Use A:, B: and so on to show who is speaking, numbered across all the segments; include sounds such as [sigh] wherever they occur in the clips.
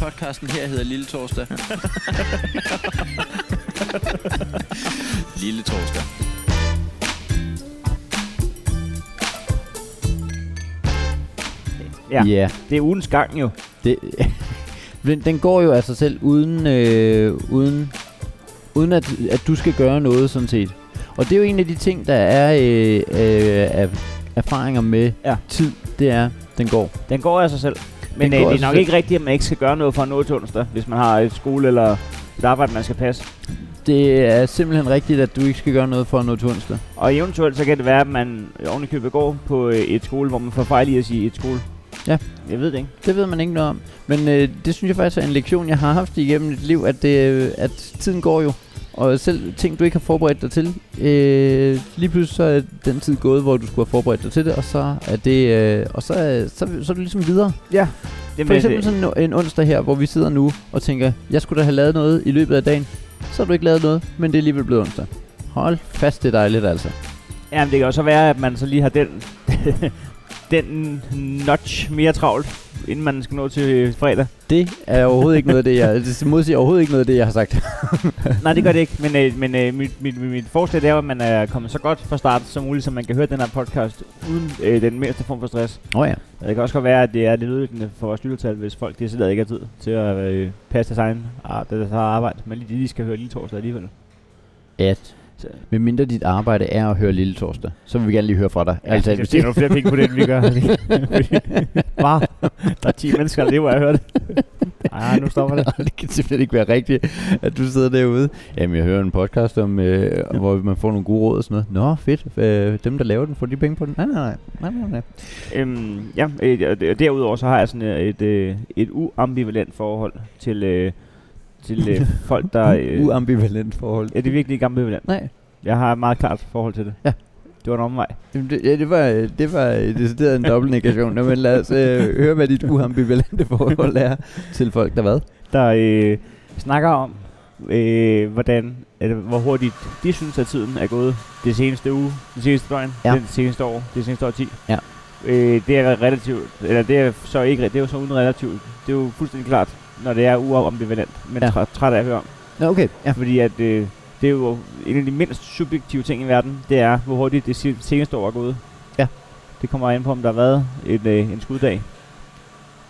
A: podcasten her hedder Lille Torsdag. [laughs] Lille Torsdag.
B: Ja.
C: Ja. ja.
B: Det er ugens gang jo.
C: Det, [laughs] den, den går jo af sig selv uden, øh, uden, uden at, at du skal gøre noget sådan set. Og det er jo en af de ting, der er øh, øh, af erfaringer med
B: Ja.
C: ja. tid, det er, den går.
B: Den går af sig selv. Men
C: Den
B: øh,
C: går
B: det
C: af
B: er
C: sig
B: nok
C: selv.
B: ikke rigtigt, at man ikke skal gøre noget for at nå til onsdag, hvis man har et skole eller et arbejde, man skal passe.
C: Det er simpelthen rigtigt, at du ikke skal gøre noget for at nå til onsdag.
B: Og eventuelt så kan det være, at man ovenikøbet går på øh, et skole, hvor man får fejl i at sige et skole.
C: Ja.
B: Jeg ved det ikke.
C: Det ved man ikke noget om. Men øh, det synes jeg faktisk er en lektion, jeg har haft igennem mit liv, at, det, øh, at tiden går jo. Og selv ting, du ikke har forberedt dig til, øh, lige pludselig så er den tid gået, hvor du skulle have forberedt dig til det, og så er det, øh, og så, er, så, så er du ligesom videre.
B: Ja.
C: For eksempel sådan en- en onsdag her, hvor vi sidder nu og tænker, jeg skulle da have lavet noget i løbet af dagen. Så har du ikke lavet noget, men det er alligevel blevet onsdag. Hold fast, det er dejligt altså.
B: Jamen, det kan også være, at man så lige har den, [laughs] den notch mere travlt, inden man skal nå til fredag.
C: Det er overhovedet ikke noget af det, jeg, det modsiger overhovedet ikke noget af det, jeg har sagt.
B: Nej, det gør det ikke, men, øh, men øh, mit, mit, mit, mit forslag det er, jo, at man er kommet så godt fra start som muligt, så man kan høre den her podcast uden øh, den mindste form for stress.
C: Nå oh, ja.
B: Og det kan også godt være, at det er lidt ødelæggende for vores lyttertal, hvis folk decideret ikke har tid til at øh, passe deres egen ah, det, der tager arbejde, men lige, de lige skal høre lille torsdag alligevel.
C: At
B: Så,
C: Med mindre dit arbejde er at høre Lille Torsdag, så vil vi gerne lige høre fra dig.
B: Ja, altså, det
C: hvis
B: er jo flere penge på det, end vi
C: [laughs]
B: gør. [laughs] Var, [laughs] der er 10 mennesker, der lever af at høre det. Ej, nu stopper det.
C: det, det kan simpelthen ikke være rigtigt, at du sidder derude. Jamen, jeg hører en podcast om, øh, ja. hvor man får nogle gode råd og sådan noget. Nå, fedt. Øh, dem, der laver den, får de penge på den. Nej, nej, nej. nej, nej, nej.
B: Øhm, ja, øh, og- og derudover så har jeg sådan et, øh, et uambivalent forhold til, øh, til øh, folk, der... Øh,
C: [laughs] Uambivalent forhold.
B: ja, det er virkelig ikke ambivalent.
C: Nej,
B: Jeg har et meget klart forhold til det.
C: Ja.
B: Det var en omvej.
C: Jamen, det, ja, det var, øh, det var øh, decideret en dobbelt negation. Nå, men lad os øh, høre, hvad dit uambivalente forhold er til folk, der hvad?
B: der øh, snakker om, øh, hvordan, eller, hvor hurtigt de synes, at tiden er gået det seneste uge, det seneste døgn,
C: Ja.
B: det seneste år, det seneste årti.
C: Ja.
B: Øh, det er relativt, eller det er så ikke, re- det er jo så uden relativt, det er jo fuldstændig klart, når det er uambivalent, men
C: Ja.
B: ja. træt, træt af at høre om.
C: Nå, okay. Ja.
B: Fordi at, øh, det er jo en af de mindst subjektive ting i verden, det er, hvor hurtigt det se- seneste år er gået.
C: Ja.
B: Det kommer an på, om der har været en, øh, en skuddag.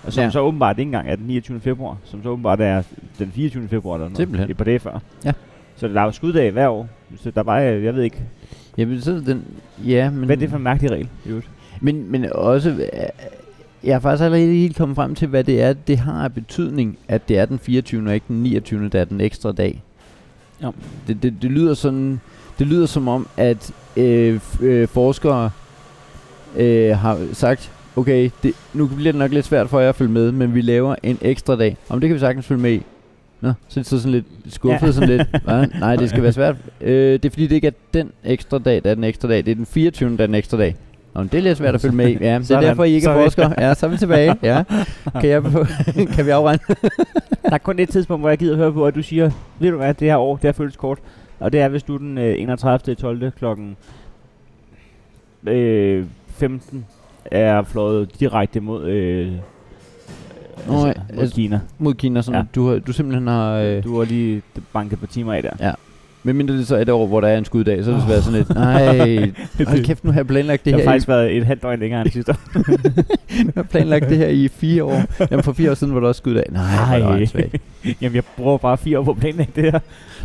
B: Og som
C: Ja.
B: ja. så åbenbart ikke engang er den 29. februar, som så åbenbart er den 24. februar eller noget.
C: Simpelthen.
B: Et par dage før.
C: Ja.
B: Så der er jo skuddag hver år. Så der er bare, øh, jeg ved ikke,
C: Jamen, så er den... Ja, men...
B: hvad er det for en mærkelig regel? i øvrigt?
C: Men, men også, øh, jeg er faktisk allerede ikke helt kommet frem til, hvad det er, det har af betydning, at det er den 24. og ikke den 29. der er den ekstra dag.
B: Ja.
C: Det, det, det lyder sådan, det lyder som om, at øh, f- øh, forskere øh, har sagt, okay, det, nu bliver det nok lidt svært for jer at følge med, men vi laver en ekstra dag. Om det kan vi sagtens følge med i. Nå, så er det sådan lidt skuffet
B: Ja.
C: ja. sådan lidt. Hva? Nej,
B: [laughs]
C: det skal være svært. Øh, det er fordi, det ikke er den ekstra dag, der er den ekstra dag. Det er den 24. der er den ekstra dag. Nå, men det er lidt svært at følge med i. Ja, men det er
B: Sådan.
C: derfor, I ikke
B: Så
C: er
B: er vi-
C: forskere. Ja, så er vi tilbage.
B: [laughs]
C: Ja. Kan, jeg på, [laughs] kan vi afregne?
B: Der er kun et tidspunkt, hvor jeg gider høre på, at du siger, ved du hvad, det her år, det her føles kort. Og det er, hvis du er den øh, 31. 12. klokken øh, 15 er fløjet direkte mod, øh,
C: Nå,
B: altså,
C: ja,
B: mod
C: altså-
B: Kina.
C: Mod Kina, sådan
B: Ja.
C: ja. du, har, du simpelthen har... Øh,
B: Du har lige d- banket på timer af der.
C: med mindre det så er et år, hvor der er en skuddag, så er det oh.
B: [laughs]
C: sådan lidt, nej, hold kæft, nu har jeg planlagt det
B: Det har
C: her.
B: faktisk været et halvt døgn længere end sidste år.
C: Jeg har planlagt det her i fire år. Jamen for fire år siden var der også skuddag. Nej, hvor er det åndssvagt.
B: [laughs] Jamen, jeg bruger bare fire år på at planlægge det her.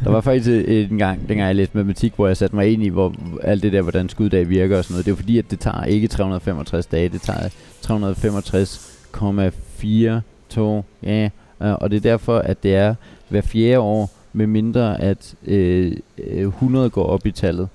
C: Der var faktisk øh, en gang, dengang jeg læste matematik, hvor jeg satte mig ind i, hvor alt det der, hvordan skuddag virker og sådan noget. Det er jo fordi, at det tager ikke 365 dage, det tager 365,42, ja, øh, og det er derfor, at det er hver fjerde år, med mindre at øh, øh, 100 går op i tallet.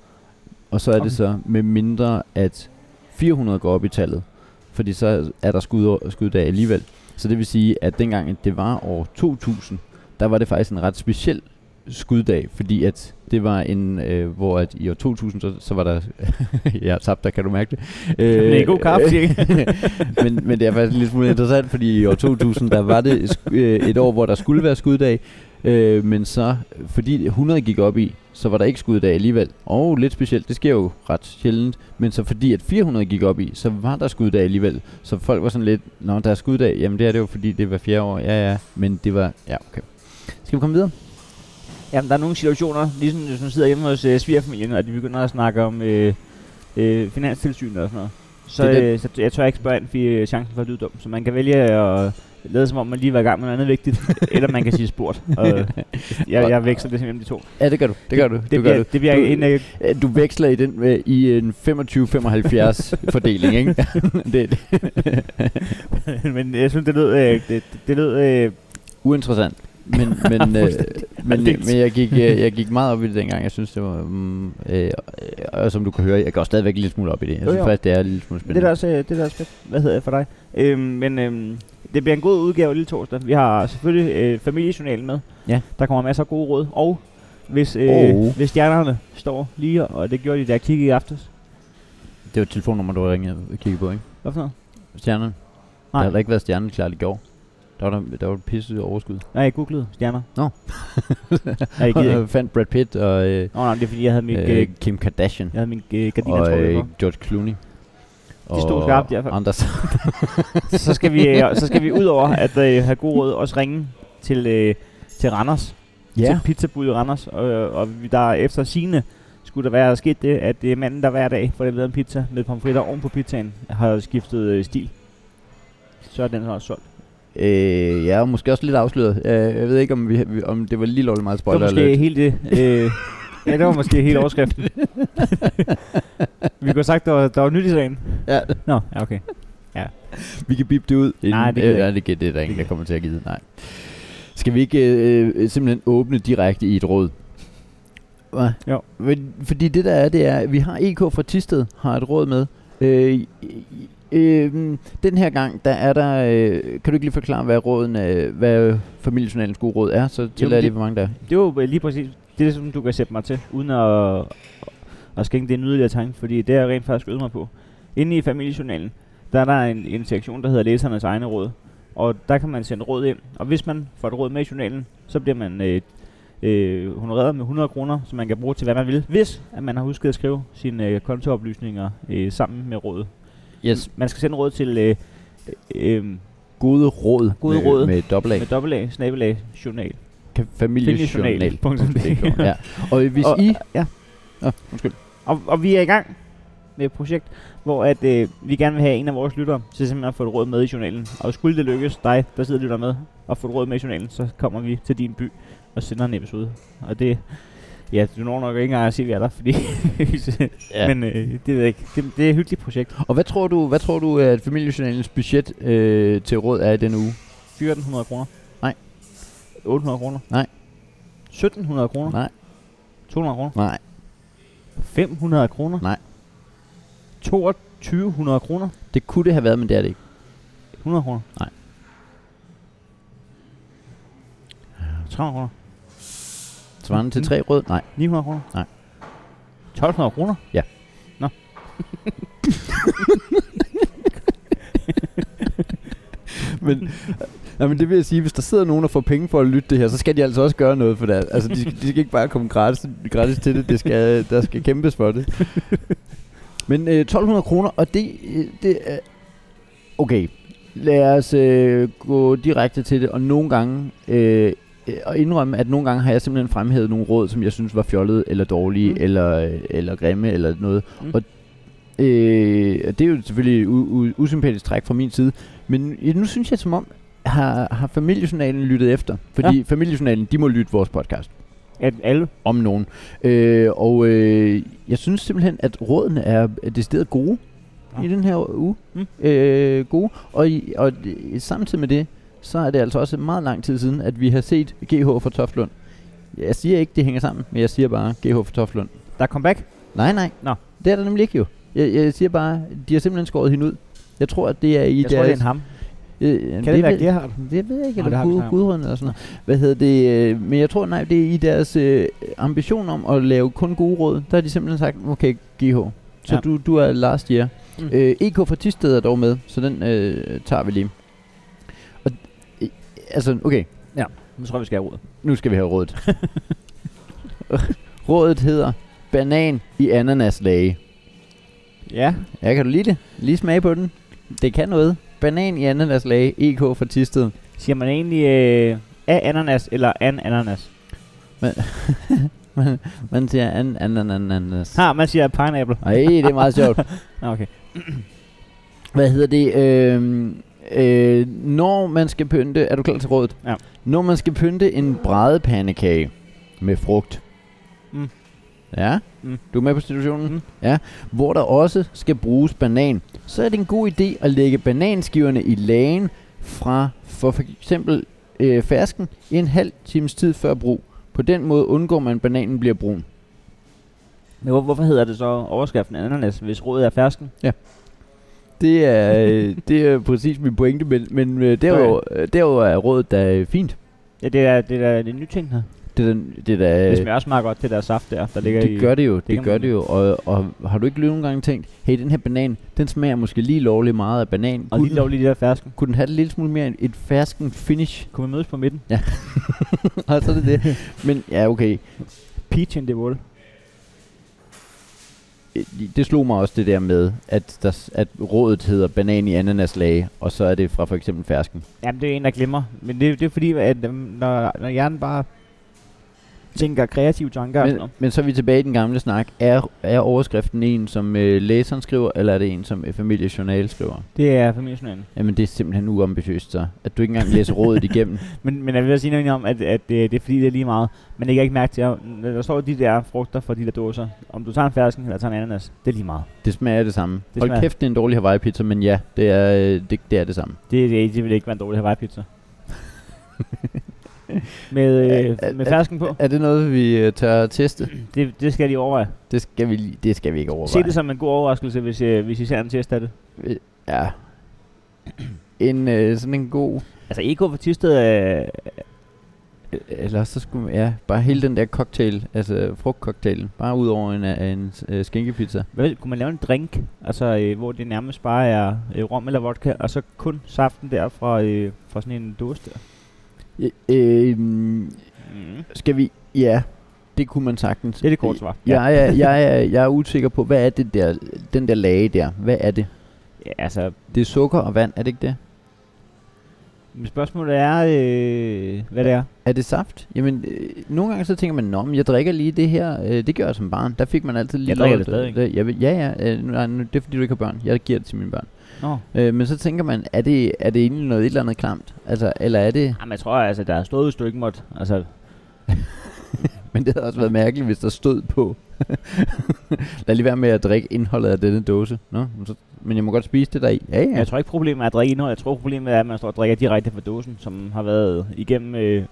C: Og så er
B: Okay.
C: det så med mindre at 400 går op i tallet, fordi så er der skud, skuddag alligevel. Så det vil sige, at dengang at det var år 2000, der var det faktisk en ret speciel skuddag, fordi at det var en, øh, hvor at i år 2000, så, så var der, [laughs] jeg har tabt dig, kan du mærke det?
B: Øh, det er god kaffe, ikke?
C: [laughs] men, men det er faktisk lidt smule interessant, fordi i år 2000, der var det sk- øh, et år, hvor der skulle være skuddag, Øh, men så, fordi 100 gik op i, så var der ikke skuddag alligevel. Og lidt specielt, det sker jo ret sjældent. Men så fordi at 400 gik op i, så var der skuddag alligevel. Så folk var sådan lidt, nå, der er skuddag. Jamen det er det jo, fordi det var fjerde år. Ja, ja. Men det var, ja, okay. Skal vi komme videre?
B: Jamen, der er nogle situationer, ligesom hvis man sidder hjemme hos øh, svigerfamilien, og de begynder at snakke om øh, øh, finanstilsynet og sådan noget. Så,
C: Det er
B: øh, så jeg tør ikke spørge ind, fordi øh, chancen for at lyde dum. Så man kan vælge at lade som om, man lige var i gang med noget andet
C: [laughs]
B: vigtigt, eller man kan sige sport. Og, øh, jeg, jeg veksler det simpelthen de to.
C: Ja, det gør du. Det gør du.
B: Det
C: du gør
B: bliver,
C: du.
B: det bliver
C: Du-
B: en af
C: Øh, Du veksler i den øh, i en
B: [laughs]
C: 25-75 fordeling, ikke? det, det.
B: [laughs] men jeg synes, det lød, øh, det, det lød øh,
C: Uinteressant.
B: [laughs]
C: Men, men, øh, men,
B: Aldeles.
C: men jeg, gik, øh, jeg gik meget op i det dengang. Jeg synes, det var... Mm, øh, og, og som du kan høre, jeg går stadigvæk en lille smule op i det. Jeg
B: Jo,
C: synes
B: jo.
C: faktisk, det er en lille smule
B: Det er
C: spændende.
B: da også, øh, det er da også fedt. Hvad hedder det for dig? Øhm, men øhm, det bliver en god udgave lille torsdag. Vi har selvfølgelig øh, familiejournalen med.
C: Ja.
B: Der kommer masser af gode råd. Og hvis, øh,
C: Og-
B: hvis stjernerne står lige, og det gjorde de, da jeg kiggede i aftes.
C: det var et telefonnummer, du ringede og kiggede på, ikke?
B: Hvad for noget?
C: Stjernen. Der
B: Nej.
C: har da ikke været stjernen klart i går. Der var, der, der var et pisse overskud.
B: Nej, jeg googlede stjerner.
C: Nå.
B: Nej, jeg gider ikke.
C: Jeg fandt Brad Pitt og øh,
B: Nå, nej, det er fordi, jeg havde min, øh,
C: øh,
B: jeg
C: Kim Kardashian.
B: havde min øh, gardiner
C: og
B: trukket
C: øh,
B: på.
C: George Clooney.
B: De stod skarpt i hvert fald.
C: Anders
B: så skal vi, øh, så skal vi ud over at øh, have gode råd også ringe til, øh, til Randers. til pizzabud i Randers, og, og vi- der efter sine skulle der være sket det, at det er manden, der hver dag får leveret en pizza med pomfritter oven på pizzaen, har skiftet øh, stil. Så er den her også solgt.
C: Øh, jeg er måske også lidt afsløret. Øh, jeg ved ikke, om, vi, vi- om det var lige lovligt meget
B: det var
C: spoiler
B: måske
C: alert.
B: helt det. [laughs] Øh, ja, det var måske helt [laughs] overskriften. vi kunne have sagt, der var, der var nyt i sagen.
C: Ja,
B: Nå, ja, okay.
C: [laughs] vi kan bippe det ud.
B: Nej, det gider
C: øh,
B: jeg
C: nej, det, gider- det er der ingen, der kommer til at give. Nej. Skal vi ikke øh, øh, simpelthen åbne direkte i et råd? Hva?
B: Jo.
C: Men, fordi det der er, det er, vi har EK fra Tisted har et råd med. Øh, øh, den her gang, der er der, øh, kan du ikke lige forklare, hvad, råden, øh, hvad familiejournalens gode råd er? Så tillader
B: det-
C: jeg lige, hvor mange der er.
B: Det var øh, lige præcis det, som du kan sætte mig til, uden at, at skænke det en yderligere tanke, fordi det har jeg rent faktisk øvet mig på. Inde i familiejournalen, der er der en, en sektion, der hedder læsernes egne råd, og der kan man sende råd ind, og hvis man får et råd med i journalen, så bliver man øh, øh, honoreret med 100 kroner, som man kan bruge til, hvad man vil, hvis at man har husket at skrive sine øh, kontooplysninger øh, sammen med rådet.
C: Yes,
B: Man skal sende råd til øh, øh,
C: gode råd.
B: Gode
C: med,
B: råd.
C: Med dobbelt A.
B: med dobbelt A, snabelag, journal.
C: Kan- familiejournal.
B: Familiejournal.
C: ja. Og hvis
B: Og-
C: I...
B: ja.
C: Nå, undskyld.
B: Og, og vi er i gang med et projekt, hvor at, øh, vi gerne vil have en af vores lyttere til simpelthen at få et råd med i journalen. Og skulle det lykkes dig, der sidder og lytter med, at få et råd med i journalen, så kommer vi til din by og sender en episode. Og det, ja, du når nok ikke engang at sige, at vi er der, fordi... [laughs] ja.
C: Ja.
B: Men øh, det ved jeg ikke. Det, det er et hyggeligt projekt.
C: Og hvad tror du, hvad tror du at familiejournalens budget øh, til råd er i denne uge?
B: 1400 kroner.
C: Nej.
B: 800 kroner.
C: Nej.
B: 1700 kroner.
C: Nej,
B: 200 kroner.
C: nej.
B: 500 kroner.
C: Nej.
B: 2200 kroner.
C: Det kunne det have været, men det er det ikke.
B: 100 kroner?
C: Nej.
B: 300 kroner?
C: Svarende
B: Mm.
C: til tre råd? Nej.
B: 900 kroner?
C: Nej.
B: 1200 kroner?
C: Ja.
B: Nå.
C: men, nej, men det vil jeg sige, hvis der sidder nogen og får penge for at lytte det her, så skal de altså også gøre noget for det. Altså, de, skal- de skal ikke bare komme gratis, gratis til det. det skal, der skal kæmpes for det. Men øh, 1200 kroner, og det, øh, det er... Okay, lad os øh, gå direkte til det, og nogle gange... Øh, øh, og indrømme, at nogle gange har jeg simpelthen fremhævet nogle råd, som jeg synes var fjollede, eller dårlige, mm.
B: Mm.
C: eller, eller grimme, eller noget. Mm.
B: Mm.
C: Og øh, og det er jo selvfølgelig et u- u- usympatisk træk fra min side, men øh, nu synes jeg som om, har, har familiejournalen lyttet efter? Fordi ja. familiejournalen, de må lytte vores podcast,
B: At alle?
C: om nogen. Øh, og øh, jeg synes simpelthen, at rådene er decideret gode
B: Nå.
C: i den her uge.
B: Mm.
C: Øh, gode. Og, i, og d- samtidig med det, så er det altså også meget lang tid siden, at vi har set GH for Toftlund. Jeg siger ikke, det hænger sammen, men jeg siger bare GH for Toftlund.
B: Der er comeback?
C: Nej, nej.
B: Nå.
C: Det er der nemlig ikke jo. Jeg, jeg siger bare, de har simpelthen skåret hende ud. Jeg tror, at det er i
B: Jeg
C: deres...
B: tror, det er en ham.
C: Øh, jamen,
B: Kan det være
C: ved-
B: Gerhard?
C: Det ved jeg ikke,
B: Nå, det
C: eller
B: har vi
C: Gud,
B: snakket om.
C: Gudrun eller sådan noget. Hvad hedder det? øh, Men jeg tror, nej, det er i deres øh, ambition om at lave kun gode råd. Der har de simpelthen sagt, okay, GH, så ja.
B: Ja.
C: du, du er last year. Mm.
B: Mm.
C: Øh, EK fra Tisted er dog med, så den øh, tager vi lige. Og, øh, altså, okay.
B: Ja. Nu tror jeg, vi skal have råd.
C: Nu skal vi have rådet.
B: [laughs]
C: rådet hedder banan i ananaslage.
B: Ja.
C: Ja, kan du lide det? Lige smage på den. Det kan noget. Banan i ananaslage, EK for Tisted.
B: Siger man egentlig øh, af ananas eller an ananas?
C: Man, man siger an, an, an, an, ananas.
B: Ha, man siger pineapple.
C: Ej, det er meget sjovt.
B: Nå, okay.
C: Hvad hedder det? Øhm, øh, når man skal pynte... Er du klar til rådet?
B: Ja.
C: Når man skal pynte en brædepandekage med frugt.
B: Mm.
C: Ja?
B: Mm.
C: Du er med på situationen?
B: Mm.
C: Ja. Hvor der også skal bruges banan, så er det en god idé at lægge bananskiverne i lagen fra for, for eksempel øh, fersken i en halv times tid før brug. På den måde undgår man, at bananen bliver brun.
B: Men hvor, hvorfor hedder det så overskriften ananas, hvis rådet er fersken?
C: Det er, øh, det er præcis min pointe, men, men øh, [laughs] derudover, øh, derudover er rådet da øh, fint.
B: Ja, det er, det er en ny ting her.
C: Det er, den- det er da,
B: Øh, det smager også meget godt, det der saft der, der ligger i...
C: det gør det jo, det,
B: kan
C: gør
B: man-
C: det jo. Og, og har du ikke lige nogle gange tænkt, hey, den her banan, den smager måske lige lovlig meget af banan.
B: Og
C: Kunne
B: lige lov lige det der fersken.
C: den, kunne den have det lille smule mere et fersken finish? [laughs]
B: Kunne vi mødes på midten?
C: og så er det det. Men ja, okay.
B: Peach in the wall.
C: Det slog mig også det der med, at, der, s- at rådet hedder banan i ananaslage, og så er det fra for eksempel fersken.
B: Jamen, det er en, der glemmer. Men det, det er fordi, at øhm, når, når hjernen bare tænker kreative tanker og sådan
C: Men,
B: noget.
C: men så er vi tilbage i den gamle snak. Er, er overskriften en, som øh, læseren skriver, eller er det en, som øh, familiejournal skriver?
B: Det er familiejournalen.
C: Jamen, det er simpelthen uambitiøst, så. At du ikke engang læser
B: [laughs]
C: rådet igennem.
B: Men, men jeg vil også sige noget om, at, at øh, det, det er fordi, det er lige meget. Men jeg kan ikke mærke til, at når der står de der frugter fra de der dåser. Om du tager en fersken eller tager en ananas, det er lige meget.
C: Det smager af det samme. Det
B: Det
C: Hold
B: smager-
C: kæft, det er en dårlig Hawaii-pizza, men ja, det er, øh, det, det er det samme.
B: Det, det, det vil ikke være en dårlig [laughs] Hawaii-pizza. med,
C: Er- er-
B: øh, med fersken på.
C: Er det noget, vi øh, tør teste?
B: Det, det skal de overveje.
C: Det skal vi, lige- det skal vi ikke overveje.
B: Se det som en god overraskelse, hvis, øh, hvis I ser en test af det.
C: Ja. [clears throat] En, øh, sådan en god... øh,
B: Altså, EK for Tisted er...
C: Eller også så skulle man, ja, bare hele den der cocktail, altså frugtcocktailen, bare ud over en, øh, en øh, skinkepizza.
B: Hvad, kunne man lave en drink, altså, øh, hvor det nærmest bare er øh, rom eller vodka, og så kun saften der fra, øh, fra sådan en dåse der?
C: Øh, øh,
B: Mm.
C: skal vi... Ja, det kunne man sagtens.
B: Det er det korte svar.
C: Ja. Jeg, er, jeg, er, [laughs] jeg er usikker på, hvad er det der, den der lage der? Hvad er det?
B: ja, altså,
C: Det er sukker og vand, er det ikke det?
B: Mit spørgsmål er, øh, hvad det er.
C: Er det saft? Jamen, øh, nogle gange så tænker man, nå, men jeg drikker lige det her. Øh, det gør jeg som barn. Der fik man altid lige...
B: Jeg drikker
C: lov-
B: det stadigvæk.
C: det- Jeg, ved- ja, ja. Øh, nej, nu, det er fordi, du ikke har børn. Jeg giver det til mine børn.
B: Nå.
C: Øh, men så tænker man, er det, er det egentlig noget et eller andet klamt? Altså, eller er det... [laughs]
B: Jamen, jeg tror, altså, der er stået, hvis du ikke måtte. Altså,
C: Men det havde også været mærkeligt, hvis der stod på. [laughs] Lad lige være med at drikke indholdet af denne dåse. Nå, men så, men jeg må godt spise det der i. Ja, ja.
B: jeg tror ikke, problemet er at drikke indhold. Jeg tror, problemet er, at man står og drikker direkte fra dåsen, som har været igennem øh,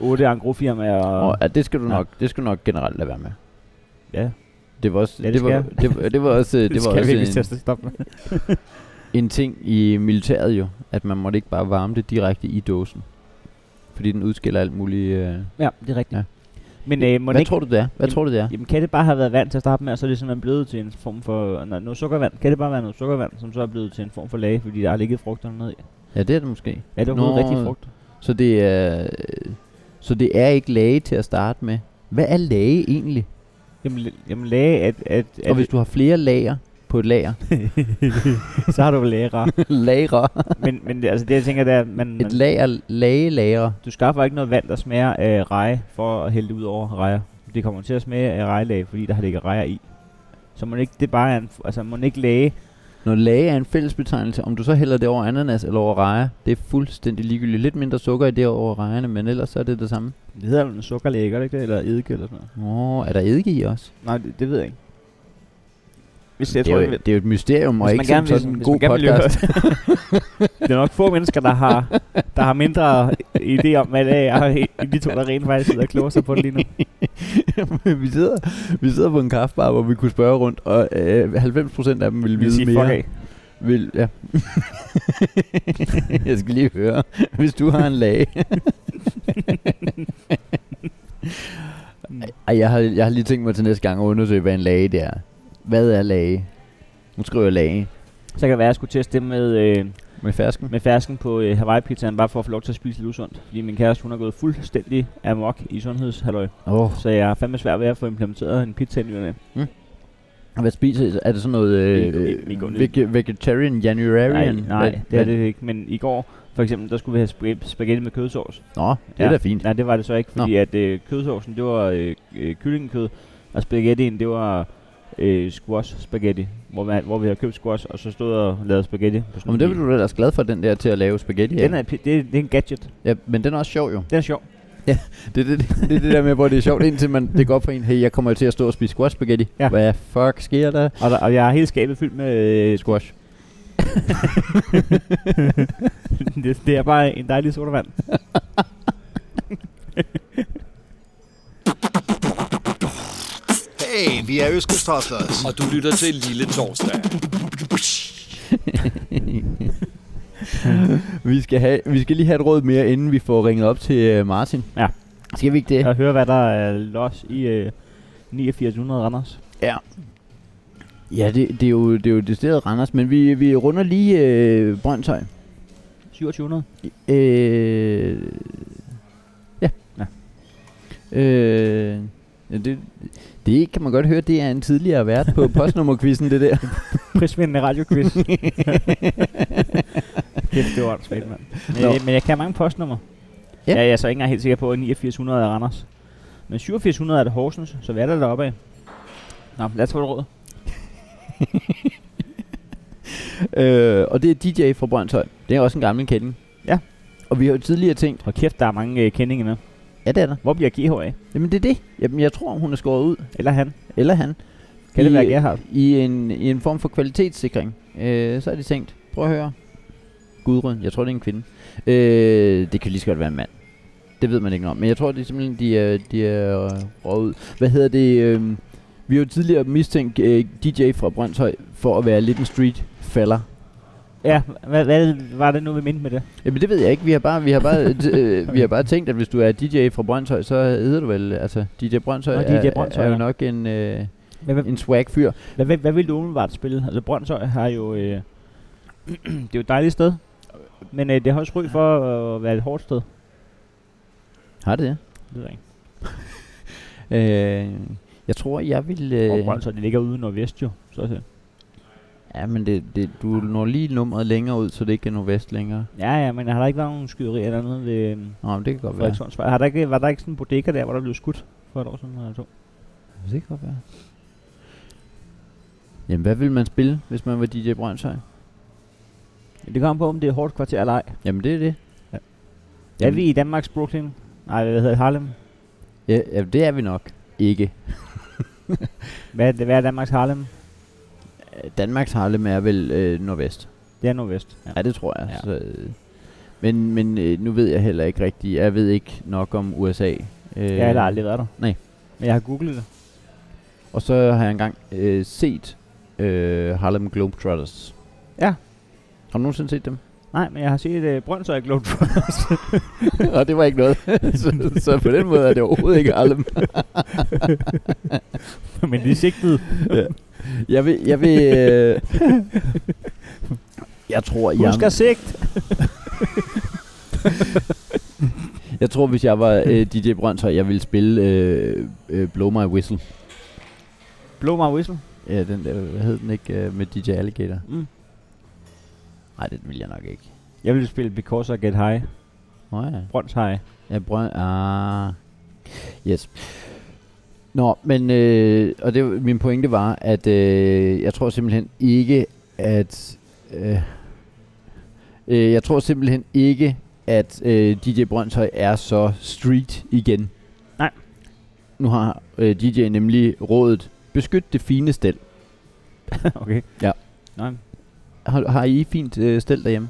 B: otte angrofirmaer. Og,
C: Og,
B: og,
C: ja, det skal du
B: Ja.
C: nok, det skal du nok generelt lade være med.
B: ja,
C: Det var også,
B: Ja, det
C: det, var,
B: skal
C: det, var, det var også, øh,
B: [laughs]
C: det, var også en,
B: stoppe med.
C: en ting i militæret jo, at man måtte ikke bare varme det direkte i dåsen. Fordi den udskiller alt muligt. Øh.
B: Ja, det er rigtigt.
C: Ja.
B: Ja. Men øh, må
C: Hvad
B: det ikke,
C: tror du det er? Hvad
B: Jamen-
C: tror du det er?
B: jamen, kan det bare have været vand til at starte med, og så er det simpelthen blevet til en form for no, noget sukkervand? Kan det bare være noget sukkervand, som så er blevet til en form for lage, fordi der har ligget frugterne ned i?
C: Ja, det er det måske.
B: Er det overhovedet
C: Nå.
B: rigtig frugt?
C: Så det er, øh, så det er ikke lage til at starte med. Hvad er lage egentlig?
B: Jamen, l- jamen lage, at, at, at
C: Og hvis du har flere lager på et
B: [laughs]
C: lager.
B: så har du vel lagerer.
C: [laughs] lager.
B: men, men det- altså det jeg tænker, det er, at man, man
C: Et lager, lage lager.
B: Du skaffer ikke noget vand, der smager af reje, for at hælde det ud over rejer. Det kommer til at smage af rejelag, fordi der har ligget rejer i. Så må ikke, det bare er en, altså må ikke læge.
C: Når lage er en fællesbetegnelse, om du så hælder det over ananas eller over rejer, det er fuldstændig ligegyldigt. Lidt mindre sukker i det over rejerne, men ellers så er det det samme.
B: Det hedder vel en sukkerlæge, gør det ikke det? Eller eddike eller sådan noget.
C: Åh, oh, er der eddike i også?
B: Nej, det, det ved jeg ikke. Hvis jeg
C: det,
B: tror,
C: er
B: jeg
C: jo,
B: ved.
C: det er jo et mysterium, og
B: Hvis
C: ikke
B: man
C: som
B: gerne vil-
C: sådan en
B: hvis
C: god
B: man gerne vil [laughs]
C: podcast. [laughs]
B: det er nok få mennesker, der har, der har mindre idé om, hvad det er, end de to, der rent faktisk sidder og kloger sig på det lige nu.
C: vi, sidder, vi sidder på en kaffebar, hvor vi kunne spørge rundt, og øh, 90% af dem ville
B: Vi
C: vide
B: siger,
C: mere.
B: fuck af.
C: Vil, ja. [laughs] jeg skal lige høre, hvis du har en
B: [laughs]
C: lag. Ej, jeg har, jeg har lige tænkt mig til næste gang at undersøge, hvad en lage det er. Hvad er lage? Nu skriver jeg lage.
B: Så kan det være, at jeg skulle teste det med øh,
C: Med fersken?
B: med fersken på øh, Hawaii-pizzaen, bare for at få lov til at spise lidt usundt. Fordi min kæreste, hun har gået fuldstændig amok i sundhedshalløj.
C: Åh,
B: Så jeg har fandme svært ved at få implementeret en pizza i ny og næ.
C: oh, hvad spiser I? Er det sådan noget øh,
B: Ikke- ikke- ikke
C: øh,
B: ondt.
C: vege- vegetarian, januarian?
B: Nej, nej
C: Hvad-
B: det er
C: hvad-
B: det ikke. Men i går, for eksempel, der skulle vi have spag- spaghetti med kødsovs.
C: Nå, det er da fint.
B: Nej, det var det så ikke,
C: Nå.
B: fordi at øh, kødsovsen, det var øh, øh, kyllingekød, og spaghettien, det var øh, squash spaghetti, hvor, man, hvor vi havde købt squash, og så stod og lavede spaghetti. På sådan
C: Nå, men det er du da ellers glad for, den der til at lave spaghetti af.
B: Den er, pi- det, er- det er en gadget.
C: Ja, men den er også sjov jo.
B: Den er sjov.
C: Det er det, det, det, er det der med, hvor det er sjovt, indtil man, det går op for en, hey, jeg kommer jo til at stå og spise squash spaghetti.
B: Ja.
C: Hvad fuck sker der?
B: Og, der, og jeg har helt skabet fyldt med... Øh,
C: Squash.
B: [laughs] det, det, er bare en dejlig sodavand.
D: Hey, vi er Øskestrømslers.
E: Og du lytter til Lille Torsdag.
C: [laughs] vi, skal have, vi skal lige have et råd mere, inden vi får ringet op til øh, Martin.
B: Ja.
C: Skal vi ikke det?
B: Jeg hører, hvad der er los i øh, 8900 Randers.
C: Ja, det, det, er jo, det er jo det sted Randers, men vi, vi runder lige øh, Brøndshøj.
B: 2700.
C: Øh, ja.
B: Ja.
C: Øh, ja, det, det kan man godt høre, det er en tidligere vært
B: [laughs]
C: på postnummerquizzen, det der.
B: Prisvindende [laughs] radioquiz. Kæft, det var åndssvagt, mand. Men,
C: Nå.
B: øh, men jeg kan mange postnummer.
C: Ja.
B: Ja. Jeg er så ikke engang helt sikker på, at 8900 er Randers. Men 8700 er det Horsens, så hvad er der deroppe af? Nå, lad os få et råd.
C: Øh, og det er DJ fra Brøndshøj. Det er også en gammel kending.
B: Ja.
C: Og vi har jo tidligere tænkt,
B: Og kæft, der er mange øh, kendinge med.
C: ja det er der.
B: Hvor bliver GH af?
C: Jamen det er det. Jamen jeg tror, hun er skåret ud.
B: Eller han?
C: Eller han.
B: Kan det
C: I- øh,
B: være Gerhard?
C: I en, i en form for kvalitetssikring. Øh, så har de tænkt, prøv at høre. Gudrun, jeg tror det er en kvinde. Øh, det kan lige så godt være en mand. Det ved man ikke noget om. Men jeg tror, det er simpelthen, de er, de er øh, røget ud. Hvad hedder det? Øh, vi har jo tidligere mistænkt øh, DJ fra Brøndshøj for at være lidt en street faller.
B: Ja, hvad, hvad var det nu, vi mente med det?
C: Jamen det ved jeg ikke. Vi har bare, vi har bare,
B: [laughs]
C: d- øh, vi har bare tænkt, at hvis du er DJ fra Brøndshøj, så hedder du vel, altså DJ Brøndshøj,
B: Nå,
C: er,
B: DJ Brøndshøj,
C: er, jo
B: ja.
C: nok en, øh,
B: Hvad, hvad,
C: en swag fyr.
B: hvad, hvad, hvad vil du umiddelbart spille? Altså Brøndshøj har jo... Øh, [clears throat] det er jo et dejligt sted. Men øh, det har også ry for at være et hårdt sted.
C: Har det det?
B: Det ved jeg ikke.
C: Øh, jeg tror, jeg vil...
B: Og
C: Øh,
B: Brøndshøj, det ligger ude i Nordvest jo. Så så.
C: ja, men det, det, du når lige nummeret længere ud, så det ikke er nordvest længere.
B: Ja, ja, men har der ikke været nogen skyderi eller noget ved øh,
C: Nå, men det kan godt være.
B: Frederikssundsvej? Har der ikke, var der ikke sådan en bodega der, hvor der blev skudt for et år siden eller to?
C: Det kan godt være. Jamen, hvad ville man spille, hvis man var DJ Brøndshøj?
B: Det kommer på, om det er hårdt kvarter eller ej.
C: Jamen, det er det.
B: Ja. Er
C: Jamen,
B: vi i Danmarks Brooklyn? Nej, hvad hedder det? Harlem?
C: Ja, ja, det er vi nok. Ikke.
B: Hvad er, det, hvad er Danmarks Harlem?
C: Øh, Danmarks Harlem er vel øh, nordvest.
B: Det er Nordvest. Ja.
C: Ja, det tror jeg. Ja.
B: Ja.
C: Så, øh, men men øh, nu ved jeg heller ikke rigtigt. Jeg ved ikke nok om USA. Øh,
B: Jeg har heller aldrig været der.
C: nej.
B: Men jeg har googlet det.
C: Og så har jeg engang øh, set øh, Harlem Globetrotters.
B: Ja.
C: Har du nogensinde set dem? [laughs]
B: Nej, men jeg har set uh, Brøndshøj Globetrotter.
C: Og det var ikke noget. [laughs] så, så på den måde er det overhovedet ikke
B: [laughs]
C: Harlem.
B: [laughs] men de sigtede.
C: Jeg vil... Jeg, vil, øh, jeg tror,
B: [laughs] Husk at
C: jeg,
B: sigt!
C: jeg tror, hvis jeg var øh, DJ Brøndshøj, jeg ville spille øh, øh, Blow My Whistle.
B: Blow my whistle.
C: Ja, den der, hvad hed den ikke, øh, med DJ Alligator?
B: Mm.
C: Nej, den vil jeg nok ikke.
B: Jeg ville spille Because I Get High.
C: Nå ja.
B: Brønds High.
C: Ja, brøn... Ah. Yes. Nå, men... Øh, og det, var- min pointe var, at øh, jeg tror simpelthen ikke, at... Øh, øh, jeg tror simpelthen ikke, at øh, DJ Brøndshøj er så street igen.
B: Nej.
C: Nu har øh, DJ nemlig rådet, beskyt det fine stel.
B: [laughs] okay.
C: Ja.
B: Nej.
C: Har, har I fint øh, stel derhjemme?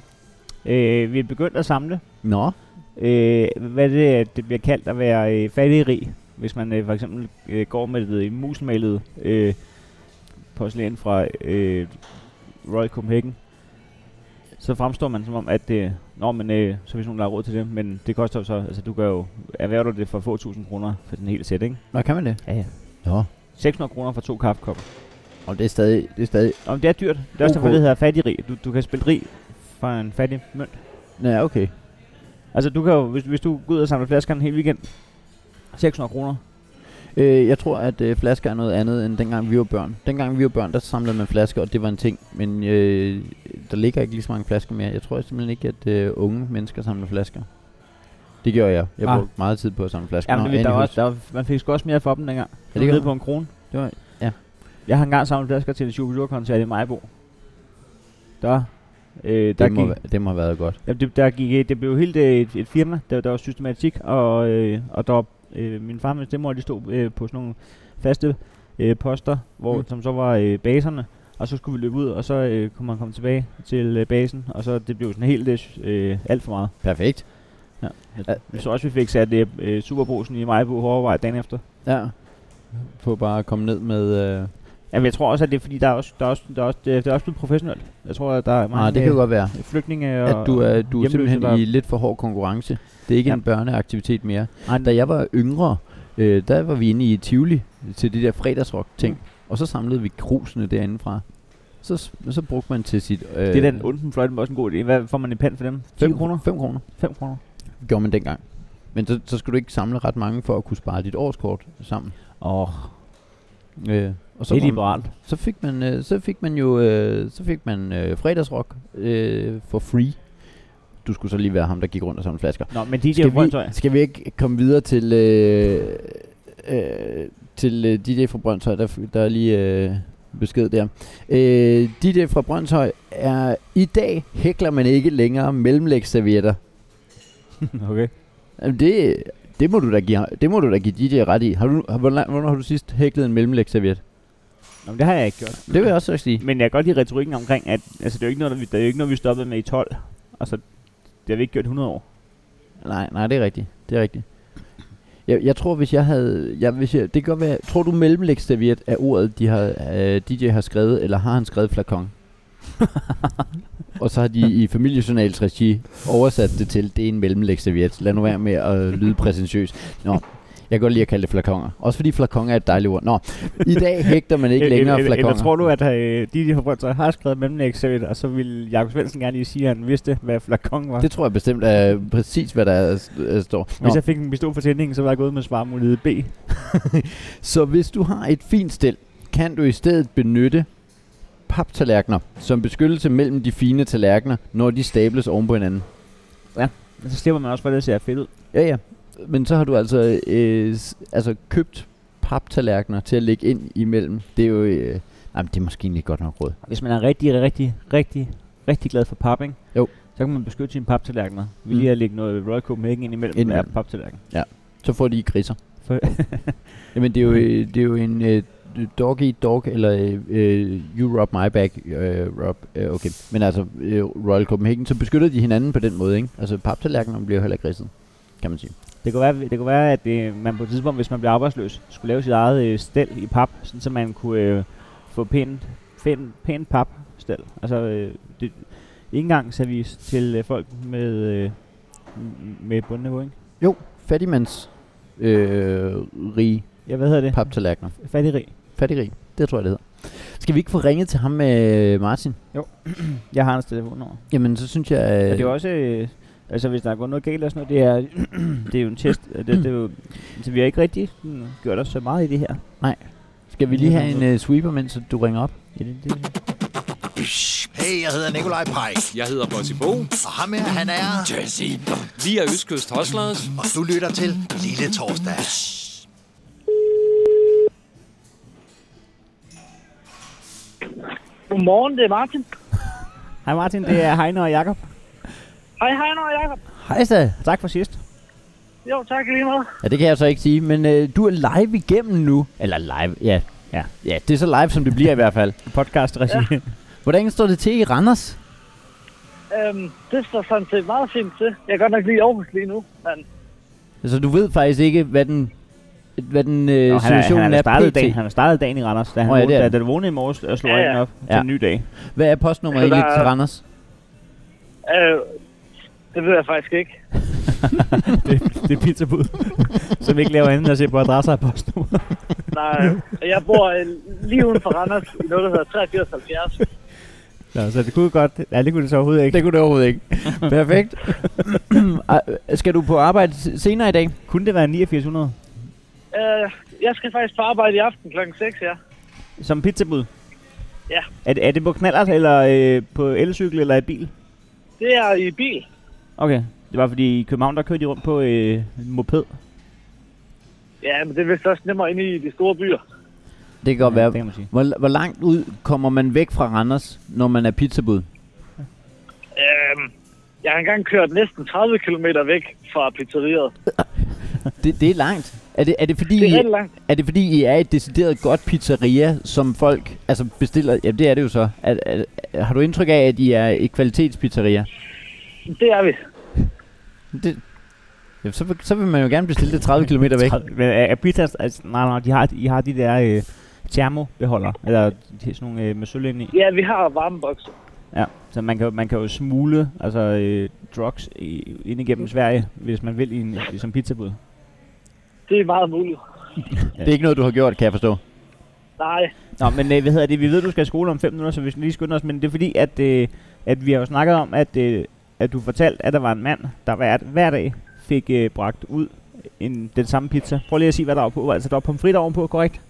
B: Øh, vi er begyndt at samle.
C: Nå.
B: Øh, hvad er det, at det bliver kaldt at være øh, fattigrig? Hvis man øh, for eksempel øh, går med det øh, muselmalede øh, porcelæn fra øh, Royal Copenhagen, så fremstår man som om, at øh, nå, men, øh, så hvis nogen der har råd til det, men det koster jo så, altså du gør jo, erhverver du det for få tusind kroner for den hele sæt, ikke?
C: Nå, kan man det?
B: Ja, ja.
C: Nå.
B: 600 kroner for to kaffekopper.
C: Og det er stadig... Det er stadig
B: Om det er dyrt, det er også
C: Ok.
B: derfor, det hedder fattigrig. Du, du kan spille rig fra en fattig mønt.
C: Ja, okay.
B: Altså, du kan jo, hvis, hvis du går ud og samler flasker en hel weekend, 600 kroner.
C: Øh, jeg tror, at øh, flasker er noget andet, end dengang vi var børn. Dengang vi var børn, der samlede man flasker, og det var en ting. Men øh, der ligger ikke lige så mange flasker mere. Jeg tror simpelthen ikke, at øh, unge mennesker samler flasker. Det gjorde jeg. Jeg
B: Ah.
C: brugte meget tid på at samle flasker.
B: Ja, men
C: Nå,
B: det, der var,
C: anyhow.
B: også, der var, man fik sgu også mere for dem dengang. Ja, det
C: det gør
B: nede
C: man.
B: på en krone.
C: Det var,
B: Jeg har engang samlet flasker til en Superdur-koncert i Majbo. Der, øh, der,
C: det, må,
B: gik,
C: være- det må have været godt.
B: jamen, det, der gik, øh, det blev helt øh, et, et firma, der, der var systematik, og, øh, og der var, øh, min far og min stemmor, de stod øh, på sådan nogle faste øh, poster, hvor,
C: Mm.
B: mm. som så var øh, baserne, og så skulle vi løbe ud, og så øh, kunne man komme tilbage til øh, basen, og så det blev sådan helt øh, s- øh, alt for meget.
C: Perfekt.
B: Vi så også, vi fik sat øh, øh, superbrusen i Majbo Hårvej dagen efter.
C: Ja. På bare at komme ned med... Øh,
B: Jamen, jeg tror også, at det er fordi, der er også, der er også, der er også, det er også blevet professionelt. Jeg tror, at der er mange
C: nej, ah, det kan jo godt være.
B: øh, flygtninge og
C: At du er, du er
B: hjemløse,
C: simpelthen
B: der-
C: i lidt for hård konkurrence. Det er ikke
B: Ja.
C: en børneaktivitet mere.
B: Ej,
C: Da jeg var yngre, øh, der var vi inde i Tivoli til de der fredagsrock-ting. Og så samlede vi krusene derinde fra. Så, s- så brugte man til sit... Øh,
B: det er den onde fløjte, også en god idé. Hvad får man i pand for dem? 10
C: 5
B: kroner?
C: kroner. 5 kroner
B: 5 kroner?
C: gjorde man dengang. Men så, så skulle du ikke samle ret mange for at kunne spare dit årskort sammen.
B: Åh, oh,
C: Øh, og
B: det er
C: kunne man-
B: liberalt.
C: så fik man øh, så fik man jo øh, så fik man øh, fredagsrock øh, for free. Du skulle så lige være ham der gik rundt og samlede flasker.
B: Nå, men DJ
C: Skal
B: Brøndshøj.
C: vi, skal vi ikke komme videre til øh, øh, til øh, DJ fra Brøndshøj der f- der er lige øh, besked der. Øh, DJ fra Brøndshøj er i dag hækler man ikke længere mellemlægsservietter.
B: okay.
C: Jamen det det må du da give det må du da give DJ ret i. Har du har, hvornår, hvornår har du sidst hæklet en mellemlægsserviet?
B: Nå, men det har jeg ikke gjort.
C: Det vil jeg også sige.
B: Men jeg kan godt lide retorikken omkring, at altså, det er jo ikke noget, der, vi, det er jo ikke noget, vi stoppede med i 12. Altså, det har vi ikke gjort i 100 år.
C: Nej, nej, det er rigtigt. Det er rigtigt. Jeg, jeg tror, hvis jeg havde... Jeg, hvis jeg, det kan godt være... Tror du, mellemlægstaviet er ordet, de har, øh, DJ har skrevet, eller har han skrevet
B: [laughs]
C: flakon? og så har de i familiejournalets regi oversat det til, det er en mellemlægstaviet. Lad nu være med at lyde præsentiøs. Nå, jeg kan godt lide at kalde det flakonger. Også fordi flakonger er et dejligt ord. Nå, i
B: [laughs]
C: dag hægter man ikke
B: Eller-
C: længere
B: eller,
C: flakonger.
B: eller, tror du, at øh, DJ fra Brøndshøj har skrevet mellemlægsserviet, og så ville Jakob Svendsen gerne lige sige, at han vidste, hvad flakon var?
C: Det tror jeg bestemt er præcis, hvad der er, øh, står. Nå.
B: Hvis jeg fik en pistol for tændingen, så var jeg gået med svarmulighed B.
C: Så hvis du har et fint stel, kan du i stedet benytte paptallerkener som beskyttelse mellem de fine tallerkener, når de stables oven på hinanden.
B: Men så slipper man også for, at det ser fedt ud.
C: Ja, ja. Men så har du altså, øh, s- altså købt paptallerkener til at lægge ind imellem. Det er jo... Øh, nej, men det er måske egentlig godt nok råd.
B: Hvis man er rigtig, rigtig, rigtig, rigtig glad for pap, ikke?
C: Jo.
B: Så kan man beskytte sine paptallerkener. Vi
C: Mm.
B: lige at lægge noget Royal Copenhagen ind imellem
C: Ind
B: hver
C: imellem.
B: paptallerken.
C: Så får de i griser.
B: For
C: [laughs] Jamen, det er jo, øh, det er jo en øh, dog eat dog, eller øh, øh, you rub my back, øh, rub, øh, okay. Men altså, øh, Royal Copenhagen, så beskytter de hinanden på den måde, ikke? Altså, paptallerkenerne bliver jo heller ikke ridset, kan man sige.
B: det, kunne være, det kunne være, at øh, man på et tidspunkt, hvis man bliver arbejdsløs, skulle lave sit eget øh, stel i pap, sådan, så man kunne øh, få pænt, pænt, pænt pap stel. Altså, øh, det, ikke engang service til øh, folk med, øh, m- med bundniveau, ikke?
C: Jo, fattigmands øh, rige
B: Ja, hvad hedder det?
C: paptallerkener.
B: Fattigrig.
C: Fattigrig, det tror jeg, det hedder. Skal vi ikke få ringet til ham med øh, Martin?
B: Jeg har hans telefonnummer.
C: Jamen, så synes jeg...
B: Og det er jo også, øh, altså hvis der er gået noget galt og sådan noget, det er, [clears throat] det er jo en test. øh, Det, det er jo, så vi har ikke rigtig sådan, gjort os så meget i det her.
C: Skal vi lige have en øh, sweeper, mens du ringer op?
B: Ja, det, det.
D: Hey, jeg hedder Nikolaj Pajk,
E: Jeg hedder Bossy Bo.
D: og ham her, han er...
E: Vi er Østkyst Hoslers.
D: Og du lytter til Lille Torsdag.
F: Godmorgen, det er Martin.
B: Hej Martin, det er Heine og Jakob.
F: Hej, hej, Nora Jacob.
C: Hej så.
B: Tak for sidst.
F: Jo, tak lige meget.
C: Ja, det kan jeg så ikke sige, men øh, du er live igennem nu. Eller live, ja. Ja, ja det er så live, som det bliver i hvert fald.
B: Podcast regi. Ja.
C: Hvordan står det til i Randers?
F: Øhm, det står sådan set meget fint til. Jeg er godt nok lige i Aarhus lige nu, men
C: Altså, du ved faktisk ikke, hvad den, hvad den øh,
B: Nå, han, er,
C: situationen
B: han, er
C: er,
B: startet
C: pt.
B: dagen, han er startet dagen i Randers, da han,
C: Nå, ja,
B: vågnede,
C: det er
B: da,
C: han.
B: da du vågnede i morges og slog
F: Ja,
B: ja,
F: ja.
B: øjnene op ja. til
C: Ja.
B: en ny dag.
C: Hvad er postnummeret
F: Altså,
C: egentlig
F: der er-
C: til Randers?
F: øh, det ved jeg faktisk ikke.
B: det, det er [laughs] pizzabud, som ikke laver andet end at se på adresser og postnummer.
F: øh, Nej, jeg bor øh, lige uden for Randers i noget, der hedder 8370.
B: Nå, så det kunne godt... Ja, det kunne det så overhovedet ikke.
C: Det kunne det overhovedet [laughs] ikke. [clears throat] Perfekt. Ej, Ah, skal du på arbejde s- senere i dag?
B: Kunne det være 8900?
F: Øh, jeg skal faktisk på arbejde i aften kl. 6, ja.
B: Som pizzabud?
F: Ja.
B: Er, det- er det på knallert, eller øh, på elcykel, eller i bil?
F: Det er i bil.
B: Okay. Det var fordi i København, der kørte de rundt på øh, en moped.
F: Ja, men det er vist også nemmere inde i de store byer.
C: Det kan godt
B: Ja,
C: være.
B: det kan man sige.
C: Hvor, hvor langt ud kommer man væk fra Randers, når man er pizzabud?
F: Øh, jeg har engang kørt næsten 30 km væk fra pizzeriet.
C: Det, det er langt. Er det, er, det fordi,
F: Det er
C: I,
F: rigtig langt.
C: er det fordi, I er et decideret godt pizzeria, som folk altså bestiller? Ja, det er det jo så. Er, er, er, har du indtryk af, at I er et kvalitetspizzeria?
F: Det er vi.
C: Det, ja, så, vil- så vil man jo gerne bestille det 30 km væk.
B: Træd- Men er, er pizzas... Altså, nej, nej, de har, de har de der øh, thermobeholder, eller de, sådan nogle øh, med sølvinde i.
F: Ja, vi har varmebokser.
B: Ja, så man kan, jo- man kan jo smule altså, øh, drugs i, ind igennem Sverige, hvis man vil i en, som pizzabud.
F: Det er meget muligt.
C: Det er ikke noget, du har gjort, kan jeg forstå.
F: Nej,
B: Nå, men øh, hvad hedder det? Vi ved, du skal i skole om 5 minutter, så vi skal lige skynde os. Men det er fordi, at, øh, at vi har jo snakket om, at, øh, at du fortalte, at der var en mand, der hver, hver dag fik øh, bragt ud en, den samme pizza. Prøv lige at sige, hvad der var på. Altså, der var pomfrit ovenpå, korrekt?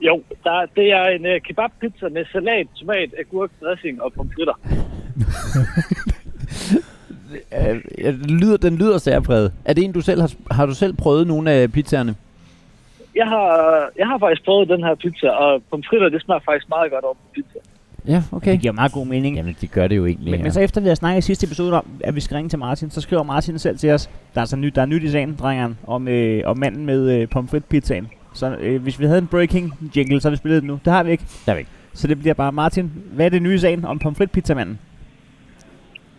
F: jo. Der, det er en uh, kebabpizza med salat, tomat, agurk, dressing og pomfritter.
C: Øh, ja, det lyder, den lyder særpræget. Er det en, du selv har, har du selv prøvet nogle af pizzaerne?
F: Jeg har, jeg har faktisk prøvet den her pizza, og pomfritter, det smager faktisk meget godt over på pizza.
C: Ja, okay.
B: Det giver meget god mening.
C: Jamen, de gør det jo egentlig.
B: Men, men så efter vi har snakket i sidste episode om, at vi skal ringe til Martin, så skriver Martin selv til os, der er så nyt, der er nyt i sagen, drengeren, om, øh, om manden med øh, pomfritpizzaen. Så øh, hvis vi havde en breaking jingle, så havde vi spillet den nu. Det har vi ikke. Det
C: har vi ikke.
B: Så det bliver bare, Martin, hvad er det nye i sagen om pomfritpizzamanden?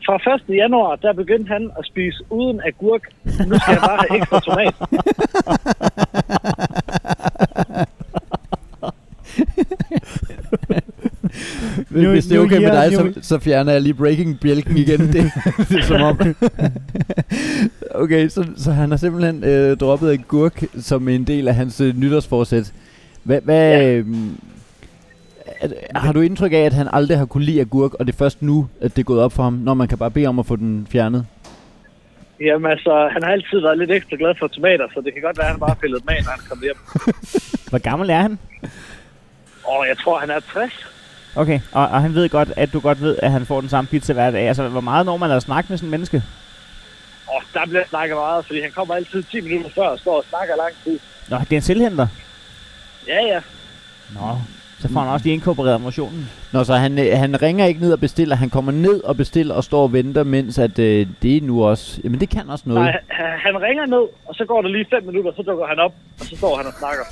F: Fra 1. januar, der begyndte han at spise uden agurk. Nu skal jeg bare have ekstra tomat.
C: Hvis,
B: Nu-
C: hvis det er
B: nu
C: okay med
B: year,
C: dig,
B: new-
C: så, så fjerner jeg lige breaking-bjælken igen. Det, det er
B: [laughs]
C: som om... okay, så, så han har simpelthen øh, droppet en gurk som en del af hans øh, nytårsforsæt. Hvad... hvad
F: Ja.
C: ja. har du indtryk af, at han aldrig har kunne lide agurk, og det er først nu, at det er gået op for ham, når man kan bare bede om at få den fjernet?
F: Jamen altså, han har altid været lidt ekstra glad for tomater, så det kan godt være, at han bare pillede med, når han kom hjem.
B: Hvor gammel er han?
F: Og jeg tror, han er 60.
B: Okay, og, og han ved godt, at du godt ved, at han får den samme pizza hver dag. Altså, hvor meget når man har snakket med sådan en menneske?
F: Og der bliver snakket meget, fordi han kommer altid 10 minutter før og står og snakker lang tid.
B: Nå, det er en selvhenter.
F: Ja, ja.
B: Nå, så får han også lige inkorporeret motionen.
C: Nå, så han, øh, han ringer ikke ned og bestiller. Han kommer ned og bestiller og står og venter, mens at, øh, det er nu også... Jamen, det kan også noget.
F: Nej, han- han ringer ned, og så går der lige 5 minutter, så dukker han op, og så står han og snakker.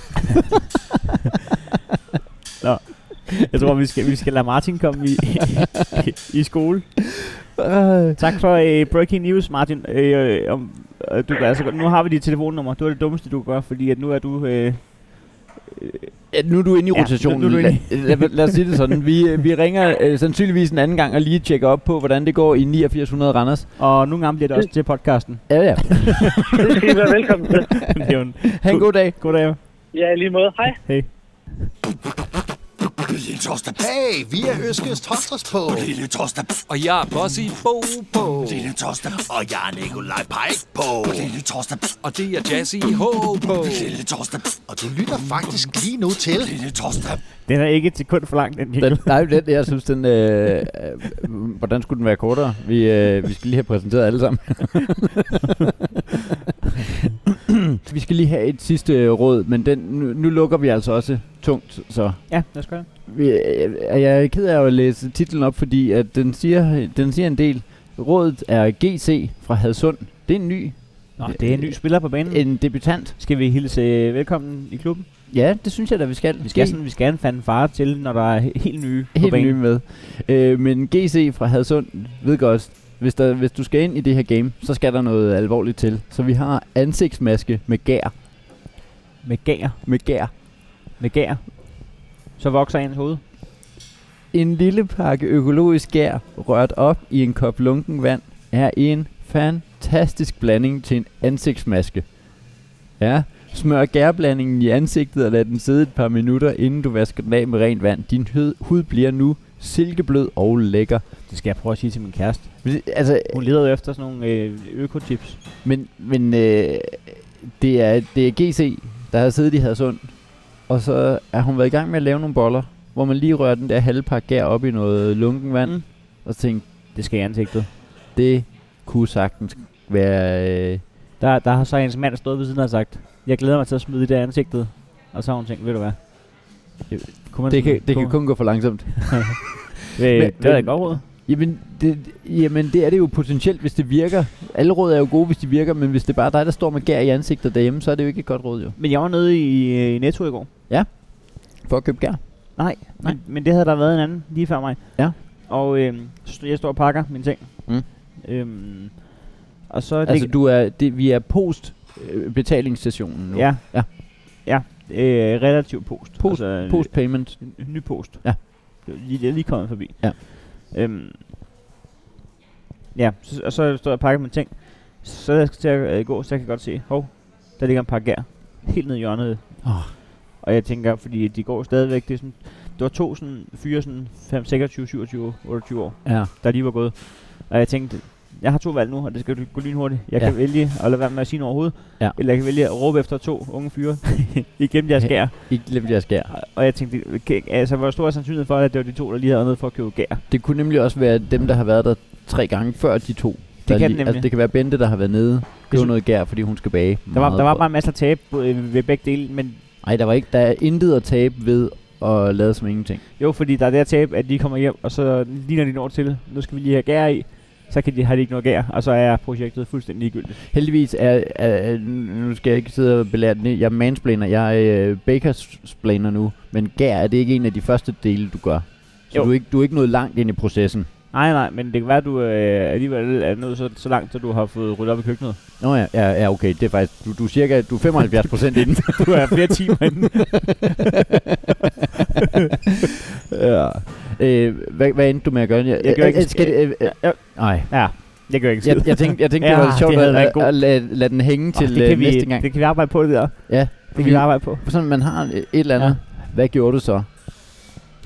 B: Jeg tror, vi skal, vi skal lade Martin komme i, i skole. Tak for øh, breaking news, Martin. Øh, øh, om, øh, du kan altså, godt- nu har vi dit telefonnummer. Det var det dummeste, du gør, fordi at nu er du... Øh,
C: Ja, nu er du inde i
B: Ja,
C: rotationen.
B: nu er du inde
C: lad, lad, lad os sige det sådan. Vi, øh, vi ringer øh, sandsynligvis en anden gang og lige tjekker op på, hvordan det går i 8900 Randers.
B: og nogle gange bliver det også til podcasten. [laughs]
C: Ja, ja.
F: Det skal I være velkommen til.
B: det er jo en
C: [laughs] Ha' en god dag.
B: god dag.
F: Ja, i lige måde. Hej.
D: Lille torsdag. Hey, vi er Øskes Tosters på. Lille torsdag.
E: Og jeg er Bossy Bo på.
D: Lille torsdag. Og jeg er Nikolaj Pike på. Lille torsdag.
E: Og det er Jazzy H på.
D: Lille torsdag. Og du lytter faktisk lige nu til. Lille torsdag.
B: Den er ikke et sekund for langt, den jingle.
C: Den, nej, den, jeg synes, den... Øh, øh, hvordan skulle den være kortere? Vi, øh, vi skal lige have præsenteret alle [laughs] sammen. vi skal lige have et sidste øh, råd, men den, nu, nu lukker vi altså også tungt, så...
B: Ja, lad os gøre det.
C: Vi- øh, Jeg er ked af at læse titlen op, fordi at den, siger, den siger en del. Rådet er GC fra Hadsund. Det er en ny,
B: Nå, det er en ny spiller på banen.
C: en debutant.
B: Skal vi hilse øh, velkommen i klubben?
C: Ja, det synes jeg da, vi skal.
B: Vi skal,
C: sådan
B: sådan, vi skal have en fanfare til, når der er he- helt nye på
C: helt
B: banen.
C: ny med. Øh, men GC fra Hadsund ved godt, hvis, der, hvis du skal ind i det her game, så skal der noget alvorligt til. Så vi har ansigtsmaske med gær.
B: Med gær.
C: Med gær.
B: Med gær. Så vokser ens hoved.
C: En lille pakke økologisk gær, rørt op i en kop lunken vand, er en fantastisk blanding til en ansigtsmaske. Ja, smør gærblandingen i ansigtet og lad den sidde et par minutter, inden du vasker den af med rent vand. Din hød, hud bliver nu silkeblød og lækker.
B: Det skal jeg prøve at sige til min kæreste.
C: Men det- Altså,
B: Hun leder jo efter sådan nogle øh, økotips.
C: men, men øh, det, er, det er GC, der har siddet i Hadsund, og så har hun været i gang med at lave nogle boller, hvor man lige rører den der halve pakke gær op i noget lunken vand,
B: Mm.
C: mm. og så tænkte,
B: Det skal i ansigtet.
C: det kunne sagtens være... Øh,
B: Der, der har så hendes mand stået ved siden og sagt, jeg glæder mig til at smide det der i ansigtet. Og så har hun tænkt, ved du hvad? Kunne man
C: det,
B: smide-
C: kan, det kan
B: kunne,
C: kun gå for langsomt.
B: øh, det
C: Men-
B: er da
C: men-
B: et godt råd.
C: Jamen det, jamen, det er det jo potentielt, hvis det virker. Alle råd er jo gode, hvis de virker, men hvis det er bare dig, der står med gær i ansigtet derhjemme, så er det jo ikke et godt råd, jo.
B: Men jeg var nede i, øh, i Netto i går.
C: For at købe gær. Nej.
B: Men, men det havde der været en anden lige før mig.
C: Ja.
B: Og øh, jeg står og pakker mine ting.
C: Mm.
B: Øhm, og så...
C: Altså,
B: ligger-
C: du er, det, vi er post øh, betalingsstationen nu.
B: Ja.
C: Ja.
B: Ja. Øh, relativ post.
C: Post-
B: altså,
C: Post payment.
B: En ny post.
C: Ja.
B: Det er lige, jeg er lige kommet forbi.
C: Ja.
B: Øhm, ja, så, og så står jeg og pakker mine ting. Så da jeg skal til at øh, gå, så jeg kan godt se, hov, der ligger en pakke gær. Helt nede i hjørnet.
C: Åh.
B: Og jeg tænker, fordi de går stadigvæk, det er sådan, det var to sådan, fyre sådan 5, 26, 27, 28 år,
C: Ja.
B: der lige var gået. Og jeg tænkte, jeg har to valg nu, og det skal du- gå lynhurtigt. Jeg
C: Ja.
B: ja. kan vælge at lade være med at sige noget overhovedet,
C: Ja.
B: eller jeg kan vælge at råbe efter to unge fyre [laughs] igennem deres
C: Ja.
B: skær.
C: Ikke glemt jeres gær.
B: Og- Og jeg tænkte, okay, altså, hvor stor er sandsynligheden for, at det var de to, der lige havde været nede for at købe gær?
C: Det kunne nemlig også være dem, der har været der tre gange før de to. der
B: kan det
C: lige, altså,
B: nemlig.
C: det kan være Bente, der har været nede. Det var
B: synes-
C: noget gær, fordi hun skal bage.
B: Der var, der var bare en masse at tabe øh, ved begge dele, men
C: Nej, der var ikke. Der er intet at tabe ved at lade som ingenting.
B: jo, fordi der er det at tabe, at de kommer hjem, og så lige når de når til, nu skal vi lige have gær i, så kan de, har de ikke noget gær, og så er projektet fuldstændig ligegyldigt.
C: Heldigvis er, er, er nu skal jeg ikke sidde og belære den. Jeg er mansplaner, jeg er øh, bakersplaner nu, men gær er det ikke en af de første dele, du gør. Så
B: Jo.
C: du er, ikke, du er ikke nået langt ind i processen.
B: Nej, nej, men det kan være, at du øh, alligevel er nået så, så langt, at du har fået ryddet op i køkkenet.
C: Nå ja, ja, ja okay, det er faktisk, du, du er cirka, du er 75 inden.
B: [laughs] Du er flere timer inden.
C: ja. Øh, hvad, hvad endte du med at gøre? Jeg,
B: Jeg gør ikke en
C: skal, det- øh, øh,
B: Ja.
C: nej,
B: Jeg gør ikke
C: jeg,
B: skid.
C: jeg tænkte, jeg tænkte
B: Ja,
C: det var sjovt
B: det havde
C: at,
B: været
C: at,
B: god.
C: at lade, lade den hænge til
B: Åh, det kan
C: øh,
B: vi,
C: næste gang.
B: Det kan vi arbejde på, det der.
C: Ja, Mm.
B: Det
C: vi-
B: kan vi arbejde på.
C: Sådan, man har øh, et eller andet. Ja. Hvad gjorde du så?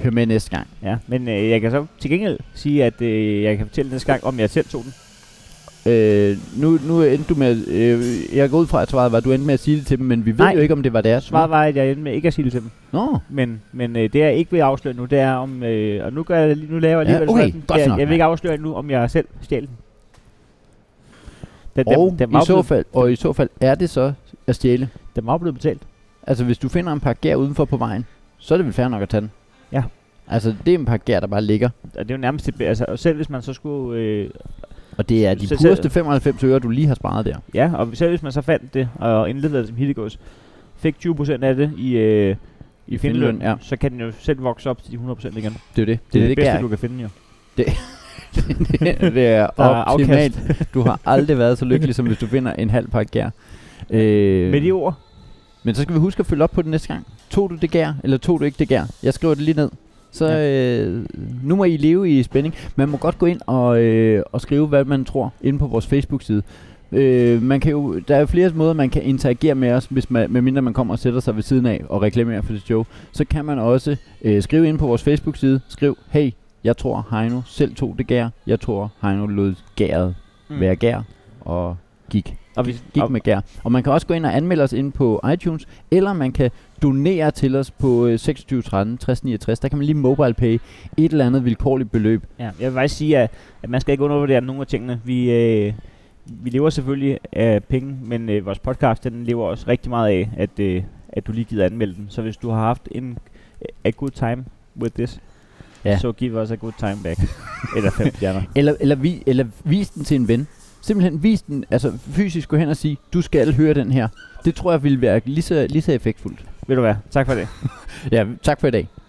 C: Hør med næste gang.
B: Ja, men øh, jeg kan så til gengæld sige, at øh, jeg kan fortælle næste gang, om jeg selv tog den.
C: Øh, nu, nu endte du med... Øh, jeg går ud fra, at svaret var, at du endte med at sige det til dem, men vi ved
B: Nej.
C: jo ikke, om det var deres.
B: Svaret var, at jeg endte med ikke at sige det til dem.
C: Nå,
B: Men, men øh, det jeg ikke vil afsløre nu, det er om... Øh, og nu, gør jeg, lige- nu laver jeg
C: Ja,
B: alligevel
C: okay,
B: sådan,
C: godt
B: jeg, jeg
C: nok,
B: vil
C: mand.
B: ikke afsløre nu, om jeg selv stjal den. Den,
C: og,
B: den, den,
C: i
B: var
C: så
B: blevet,
C: fald, og i så fald er det så at stjæle.
B: den var blevet betalt.
C: Altså, hvis du finder en pakke gær udenfor på vejen, så er det vel fair nok at tage den.
B: Ja.
C: Altså, det er en pakke gær, der bare ligger.
B: Og det er jo nærmest... et- Altså, og selv hvis man så skulle... Øh,
C: Og det er de
B: Så- så-
C: pureste 95 øre, du lige har sparet der.
B: ja, og selv hvis man så fandt det og indledte det som hittegods, fik 20% af det i... Øh, i findeløn,
C: ja.
B: ja. så kan den jo selv vokse op til de 100% igen.
C: Det er jo det.
B: Det er det, bedste,
C: gær-
B: du kan finde, jo.
C: [laughs] det er
B: Der er
C: optimalt. Du har aldrig været så lykkelig, som hvis du finder en halv pakke gær. Øh,
B: Med de ord,
C: Men så skal vi huske at følge op på det næste gang. Tog du det gær, eller tog du ikke det gær? Jeg skriver det lige ned. Så øh, nu må I leve i spænding. Man må godt gå ind og, øh, og skrive, hvad man tror, inde på vores Facebook-side. Øh, man kan jo, der er jo flere måder, man kan interagere med os, hvis man, medmindre man kommer og sætter sig ved siden af og reklamerer for det show. Så kan man også øh, skrive ind på vores Facebook-side. Skriv, hey, jeg tror Heino selv tog det gær. Jeg tror Heino lod gæret mm.
B: Mm.
C: være gær og gik
B: og vi,
C: gik
B: og,
C: med gær. Og man kan også gå ind og anmelde os ind på iTunes, eller man kan donere til os på øh, 26 13 60 69. Der kan man lige mobile pay et eller andet vilkårligt beløb.
B: Ja, jeg vil faktisk sige, at, at man skal ikke undervurdere nogle af tingene. Vi, øh, vi lever selvfølgelig af penge, men øh, vores podcast den lever også rigtig meget af, at, øh, at du lige gider anmelde den. Så hvis du har haft en øh, a good time with this,
C: Ja.
B: ja. så give os a good time back. Eller fem stjerner.
C: Eller, eller, vi, eller vis den til en ven. Simpelthen vis den, altså fysisk gå hen og sige, du skal høre den her. Det tror jeg ville være lige så, lige så effektfuldt.
B: Ved du hvad? Tak for det.
C: Ja, tak for i dag.